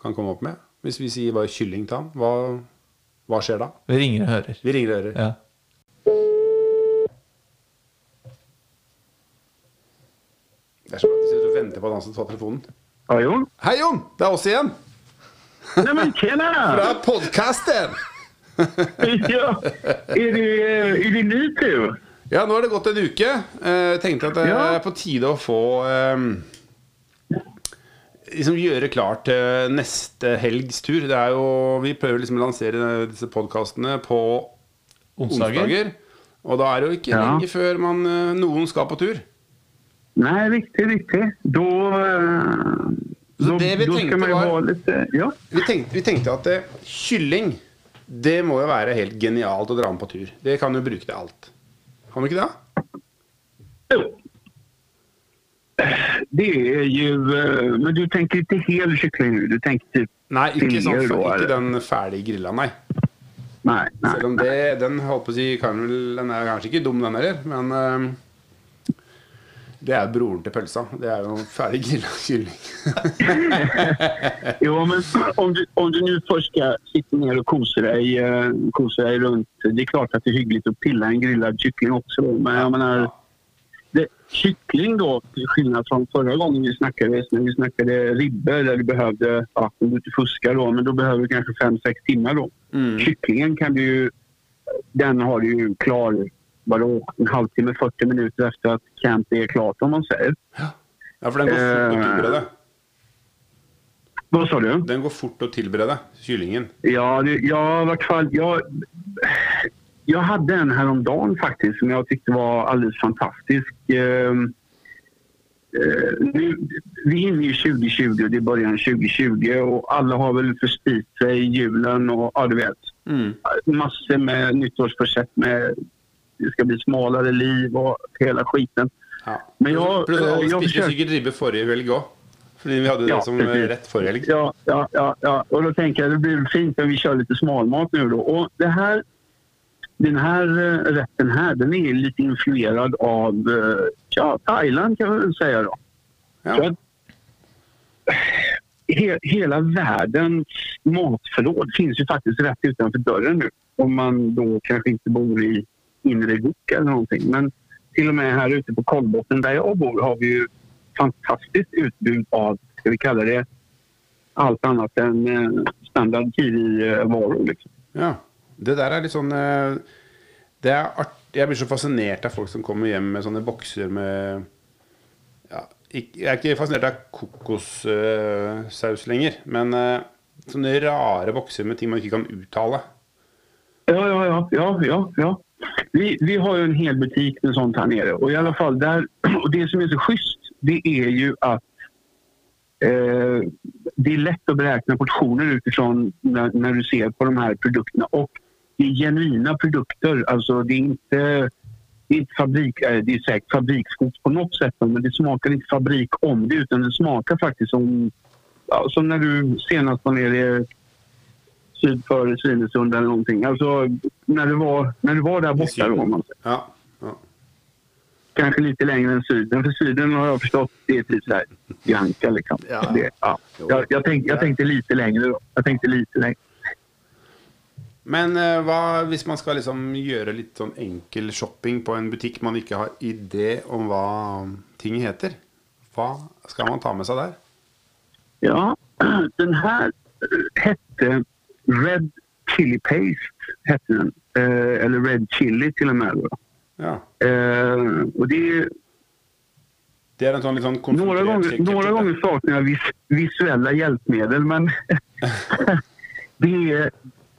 kan komme opp med. Hvis vi sier bare kylling til han, hva, hva skjer da? Vi ringer og hører. Vi ringer og hører. Ja. Det er så bra at du sitter og venter på at han skal ta telefonen. Ja, Jon. Hei, Jon! Det er oss igjen! Neimen, tjena! Fra podkasten! Ja, är du, eh, är du ny tur? Ja, nå har det gått en uke. Eh, tenkte at det Ja. er på tide å få eh, Liksom gjøre klart til neste helgs tur. Det er jo, vi prøver liksom å lansere disse podkastene på Onsdager. onsdager. Og da er det jo ikke Ja. lenge før man, eh, noen skal på tur. Nej, riktigt, riktigt. Då, eh, då, det vi då ska tänkte man ju var- ha lite... Ja. Vi tenkte, vi tenkte at eh, kylling, det må jo være helt genialt å dra med på tur. Det kan jo bruke til alt. Kan du ikke det? Jo. Det är ju... eh, Men du tänker inte hel kyckling nu? Du tänker typ... Nei, ikke, Finger sånn, da, ikke eller? den ferdige grilla, nei. Nej, nej. Selv om det, den, holdt på å si, kan vel, den er kanskje ikke dum, den heller, men eh, det er broren til pølsa. Det er jo ferdig grilla kylling. Jo, men om du, om du nu först ska sitta ner och kosa dig, eh, kosa dig runt. Det är klart att det är hyggligt att pilla en grillad kyckling också. då, Men jag menar, det, kyckling då, till skillnad från förra gången vi snackade, när vi snackade ribbor där du behövde, ja, om du inte fuskar då, men då behöver du kanske fem sex timmar då. Kycklingen kan du ju, den har du ju klar, vadå, en halvtimme, 40 minuter efter att camp är klart om man säger. Ja, for den går fort å Eh. tilberede. Vad sa du? Den går fort å tilberede, kyllingen. Ja, det, ja, i vart fall. Jag, jag hade en häromdagen faktiskt som jag tyckte var alldeles fantastisk. Ehm, eh, nu, vi är inne i 2020 och det är början 2020 och alla har väl förspit sig i julen och ja, du vet. Mm. Massor med nyttårsförsett med det ska bli smalare liv och hela skiten. Ja. Men jag- Pluss alle eh, jeg spiste forsøker- sikkert ribbe forrige helg òg. Fordi vi hadde det Ja, som eh, precis. rett forrige helg. Ja, ja, ja, ja. Och då tänker jag det blir fint om vi kör lite smalmat nu då. Och det här, den här eh, rätten här den är lite influerad av eh, ja, Thailand kan man väl säga då. Ja. Så att, he, hela världens matförråd finns ju faktiskt rätt utanför dörren nu. Om man då kanske inte bor i inre vik eller någonting. Men till och med här ute på Kolbotten där jag bor har vi ju fantastiskt utbud av, ska vi kalla det, allt annat än eh, standard kiwi-varor. Liksom. Ja. Det der er litt sånn eh, Det er art... Jeg blir så fascinert av folk som kommer hjem med sånne bokser med ja, ikk- Jeg er ikke fascinert av kokossaus lenger, men eh, sånne rare bokser med ting man ikke kan uttale. Ja, ja, ja. ja, ja, ja. Vi, vi har ju en hel butik med sånt här nere. Och i alla fall där, och det som är så schysst, det är ju att eh, det är lätt att beräkna portioner utifrån när, när du ser på de här produkterna. Och det är genuina produkter. Alltså det är inte, det är inte fabrik, eh, det är säkert fabriksgods på något sätt. Men det smakar inte fabrik om det utan det smakar faktiskt som, ja, som när du senast var nere i syd för Svinesund eller någonting. Alltså när du var, när du var där borta då. om man säger. Ja. ja. Kanske lite längre än syden. För syden har jag förstått, det är typ såhär Sri Lanka liksom. Ja. Det, ja. jag, jag, tänkte, jag tänkte lite längre då. Jag tänkte lite längre. Men eh, hva hvis man skal liksom gjøre litt sånn enkel shopping på en butikk man ikke har idé om hva ting heter? Hva skal man ta med seg der? Ja, den här eh, hette Red Chili Paste. Hette den. Eh, eller Red Chili till och med. Då. Ja. Eh, og det, Det er en sånn litt sånn några konsentrert gånger, ketchup, några da. gånger saknar jag vis, visuella hjälpmedel men det, är,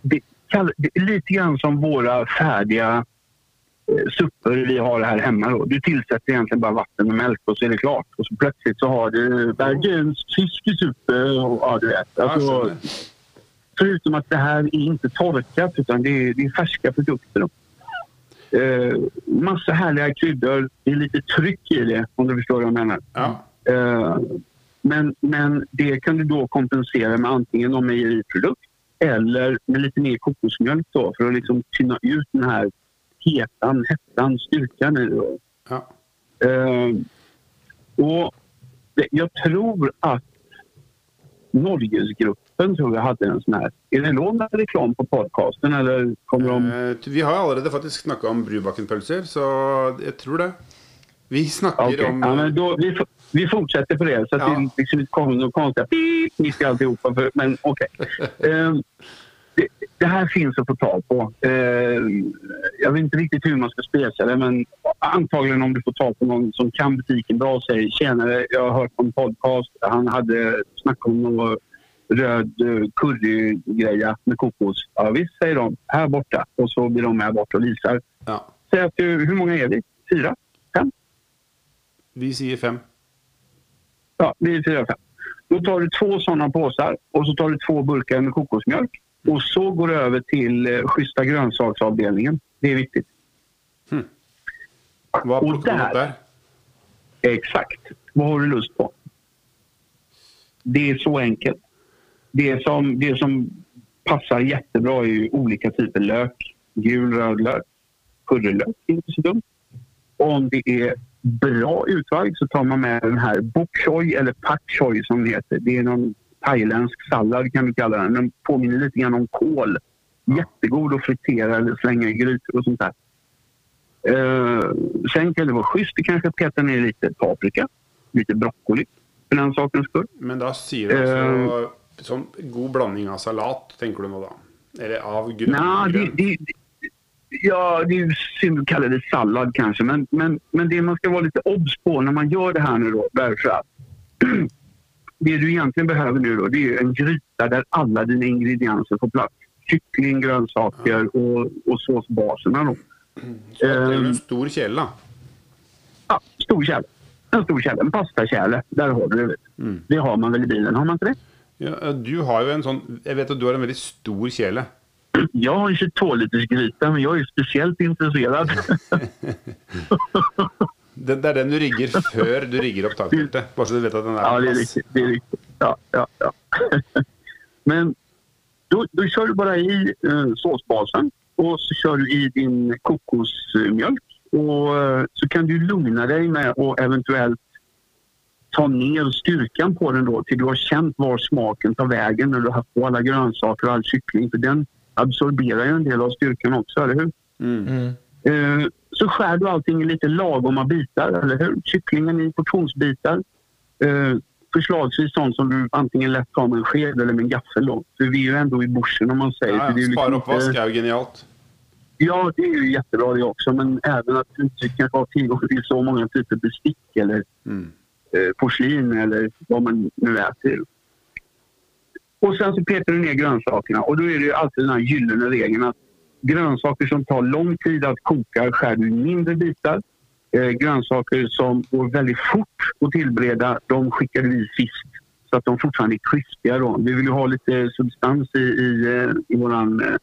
det, kall, det är lite grann som våra färdiga eh, supper vi har här hemma. Då. Du tillsätter egentligen bara vatten og mjölk och så är det klart. Och så plötsligt så har du bergens fiskesuppe och ja, du vet. Ja, Alltså, skjønner. Förutom att det här är inte torkat utan det är, det är färska produkter. då. Eh, massa härliga kryddor. Det är lite tryck i det om du förstår vad jag menar. Ja. Eh, men, men det kan du då kompensera med antingen någon mejeriprodukt eller med lite mer kokosmjölk då för att liksom tynna ut den här hetan, hettan, styrkan i det. då. ja. Eh, och det, jag tror att Norgesgruppen tror jag hade en sån här. Är det någon reklam på podcasten eller kommer de... Eh, Vi har allerede faktisk snakka om Brubakken-pølser, så jeg tror det. Vi snakker Okej. om Ja, men då, vi, f- vi fortsätter på det så att Ja. det liksom inte kommer några konstiga pip mitt i alltihopa. För, men okej. Ehm, det, det här finns att få tag på. Ehm, jag vet inte riktigt hur man ska spesa det men antagligen om du får tag på någon som kan butiken bra och säger tjenare, jag har hört på en podcast, han hade snackat om någon röd eh, currygreja med kokos. Ja visst säger de, här borta. Och så blir de med bort och visar. ja, Säg att du, hur många är vi? Fyra? Fem? Vi sier fem. Ja, det är fyra fem. Då tar du två sådana påsar och så tar du två burkar med kokosmjölk. Och så går du över till eh, schyssta grönsaksavdelningen. Det är viktigt. Hva Og plukker man der- opp der? Exakt. Vad har du lust på? Det är så enkelt. Det som, det som passar jättebra är ju olika typer lök. Gul, röd lök, purjolök. Det är inte så dumt. Och om det är bra utvalg så tar man med den här bok choy eller pak choy som det heter. Det är någon thailändsk sallad kan vi kalla den. Den påminner lite grann om kål. Jättegod att fritera eller slänga i grytor och sånt där. Eh, sen kan det vara schysst att kanske peta ner lite paprika, lite broccoli för den sakens skull. Men da sier du altså Eh, sånn god blanding av salat, tenker du nå da? Eller av grønn Nja, det, grønn. det, ja, det är ju synd att kalla det sallad kanske, men, men, men det man ska vara lite obs på när man gör det här nu då, därför att det du egentligen behöver nu då, det är ju en gryta där alla dina ingredienser får plats. Kyckling, grönsaker och, och såsbaserna då. Så da trenger du eh, en stor kjele, da. Ja, stor kärle. En stor kärle, en pastakärle. Där har du det. vet du. Det har man väl i bilen, har man inte det? Ja, eh, du har jo en sånn Jeg vet at du har en veldig stor kjele. Jag har en 22 liters gryta, men jag är speciellt intresserad. Det, det er den du rigger før du rigger opp takfeltet. Bare så du vet at den er ja, på det är plass. riktigt. Det är riktigt. Ja, ja, ja. men då, då kör du bara i eh, såsbasen och så kör du i din kokosmjölk. Och eh, så kan du lugna dig med att eventuellt ta ner styrkan på den då till du har känt var smaken tar vägen när du har haft på alla grönsaker och all kyckling. För den absorberar ju en del av styrkan också, eller hur? Mm. Mm. Eh, så skär du allting i lite lagoma bitar, eller hur? Kycklingen i portionsbitar. Eh, förslagsvis sånt som du antingen lätt tar med en sked eller med en gaffel. Då. För vi är ju ändå i bushen om man säger. Ja, så det är ja. ju Spare liksom oppvask inte- er jo genialt. Ja, det är ju jättebra det också. Men även att du inte kanske har tillgång till så många typer bestick eller Mm. eh, porslin eller vad man nu är till. Och sen så petar du ner grönsakerna och då är det ju alltid den här gyllene regeln att grönsaker som tar lång tid att koka skär du i mindre bitar. Eh, grönsaker som går väldigt fort att tillbereda, de skickar du i sist så att de fortfarande är krispiga. Då. Vi vill ju ha lite substans i, i, eh, i våran eh,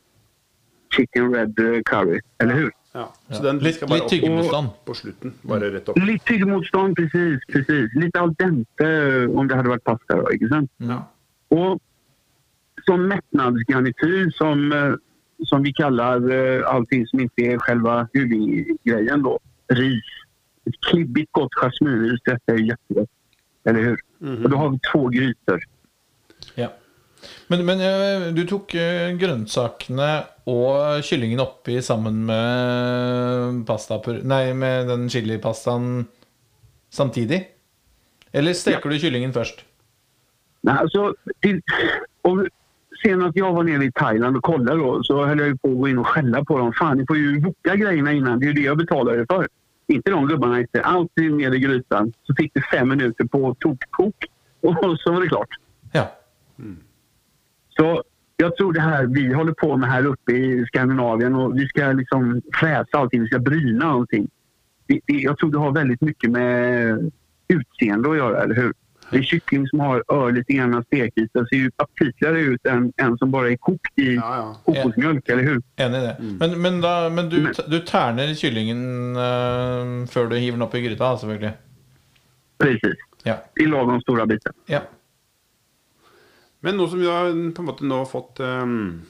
chicken red eh, curry, eller hur? Ja. Så Ja. den Litt- skal bare litt opp tyggemotstand. på- på slutten. Bare rett opp. Lite tyggmotstånd, precis, precis. Lite al dente eh, om det hade varit pasta då, inte sant? Ja. Och som mättnadsgarnityr som, eh, som vi kallar eh, allting som inte är själva huvudgrejen då, ris. Ett klibbigt gott jasminris, detta är ju jättegott. Eller hur? Mhm. Och då har vi två grytor. Ja. Men, men eh, du tok eh, grønnsakene og kyllingen oppi sammen med pasta Nei, med den chilipastaen samtidig? Eller steker du kyllingen først? Nej, alltså, till, och senast jag var nere i Thailand och kollade då, så höll jag ju på att gå in och skälla på dem. Fan, ni får ju boka grejerna innan. Det är ju det jag betalar er för. Inte de gubbarna inte. Allting ner i grytan. Så fick det fem minuter på tokkok och så var det klart. Ja. Så jag tror det här vi håller på med här uppe i Skandinavien och vi ska liksom fräsa allting, vi ska bryna allting. Det, det, jag tror det har väldigt mycket med utseende att göra, eller hur? En kyckling som har örligt ena stekyta ser ju aptitligare ut än en som bara är kokt i Ja, ja. kokosmjölk, eller hur? Enig i det. Mm. Men, men, da, men du, du terner kyllingen eh, før du hiver den oppi gryta, selvfølgelig. Precis, Ja. i lagom stora bitar. ja. Men nå som vi har på en måte nå fått ehm,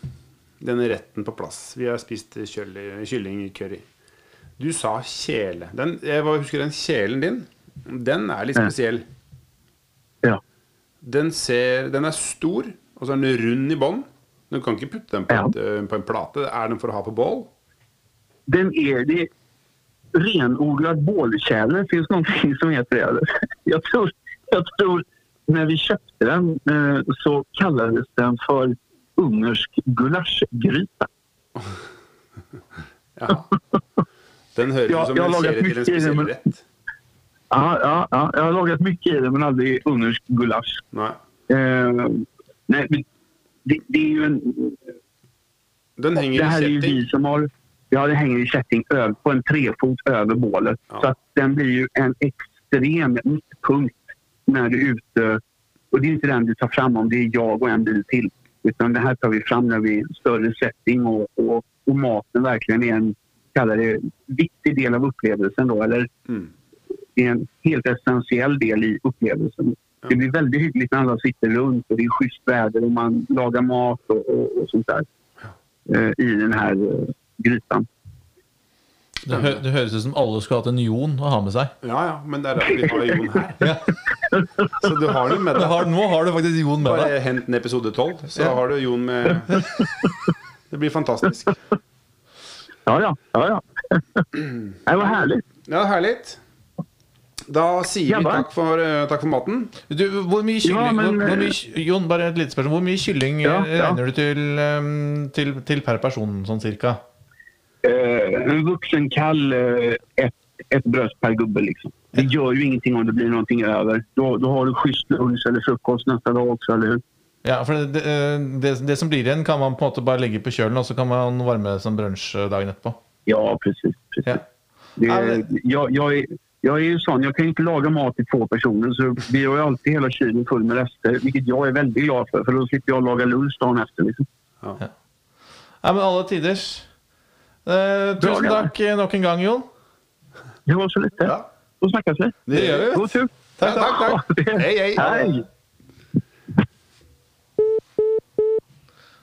denne retten på plass Vi har spist kjøl- kylling i curry. Du sa kjele. Den, jeg var- husker den kjelen din. Den er litt Ja. spesiell. Ja. Den, ser, den er stor, og så er den rund i bånn. Du kan ikke putte den på, Ja. et, eh, på en plate. Er den for å ha på bål? Den är, det är renodlad bålkärle. Finns det någonting som heter det? eller? Jag tror, jag tror när vi köpte den eh, så kallades den för ungersk gulaschgryta. Jaha. Den høres Ja, ut som jeg har en laget kjele til en mye i det, spesiell men- rett. Ja, ja, ja, jag har lagat mycket i den men aldrig ungersk gulasch. Nei. Eh, nej, men det, det är ju en... Den Det henger i här är ju kjetting. vi som har... Ja, det hänger i kätting över, på en trefot över bålet. Ja. Så att den blir ju en extrem mittpunkt när du är ute. Och det är inte den du tar fram om det är jag och en bil till. Utan det här tar vi fram när vi är en större setting och, och, och maten verkligen är en kallar det, viktig del av upplevelsen. Då, eller Mm. det är en helt essentiell del i upplevelsen. Det blir väldigt hyggligt när alla sitter runt och det är schysst väder och man lagar mat och, och, och sånt där eh, i den här eh, grytan. Det, hø det høres ut som alle skulle hatt en jon å ha med seg. Ja, ja, men det er derfor vi har Jon her. Ja. Så du har den med Du deg. har, nå har du faktisk jon med deg. Bare hent en episode 12, så Ja. har du Jon med Det blir fantastisk. Ja, ja. ja, ja. det var härligt. Ja, herlig. Da sier vi Jabba. takk for, eh, takk for maten. Du, hvor mye kylling Ja, men- hvor, hvor mye, ky- Jon, bare et lite spørsmål. Hvor mye kylling Ja, eh, ja. regner du til, ehm, til, til per person, sånn cirka? Eh, en vuxen kall, eh, ett, ett bröst per gubbe. Liksom. Det gör ju ingenting om det blir någonting över. Då, då har du schysst lunch eller frukost nästa dag också, eller hur? Ja, for det, det, det, det som blir igjen, kan man på en måte bare legge på kjølen, og så kan man varme det som brunsj eh, dagen etterpå. Ja, precis. precis. Ja. Ja, Det, men- jag, jag, är, jag är ju sån, jag kan ju inte laga mat till två personer så vi har ju alltid hela kylen full med rester, vilket jag är väldigt glad för för då slipper jag laga lunch dagen efter. Liksom. Nei, men alle tiders. Eh, tusen Bra, ja. takk eh, nok en gang, Jon. Det var så lite. Ja. Då snackas vi. Det gjør vi. God tur! Takk, takk. takk. Hei, hei. Hej!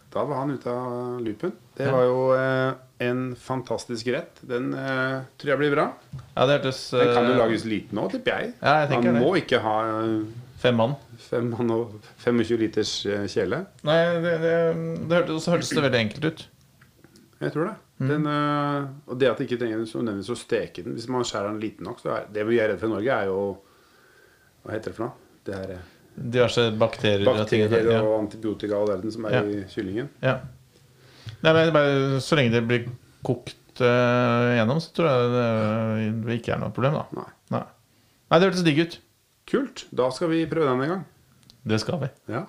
Da var han ute av loopen. Det var jo eh, en fantastisk rett. Den eh, tror jeg blir bra. Ja, det hørtes eh, Den kan jo lages liten nå, tipper jeg. Ja, jeg tenker Man det. må ikke ha eh, fem mann. fem mann og 25 liters eh, kjele. Nei, det, det, det hørtes, så hørtes det veldig enkelt ut. Jeg tror det. Mm. Den, eh, og det at det ikke trenger så nødvendigvis å steke den Hvis man skjærer den liten nok, så er det vi er redd for i Norge, er jo Hva heter det for noe? Det er eh, Diverse bakterier, bakterier ja. og antibiotika og verden som er Ja. i kyllingen. Ja. Nei, men bare, så lenge det blir kokt eh, gjennom, så tror jeg det, det ikke er noe problem, da. Nei. Nei, Nei det hørtes digg ut. Kult. Da skal vi prøve den en gang. Det skal vi. Ja.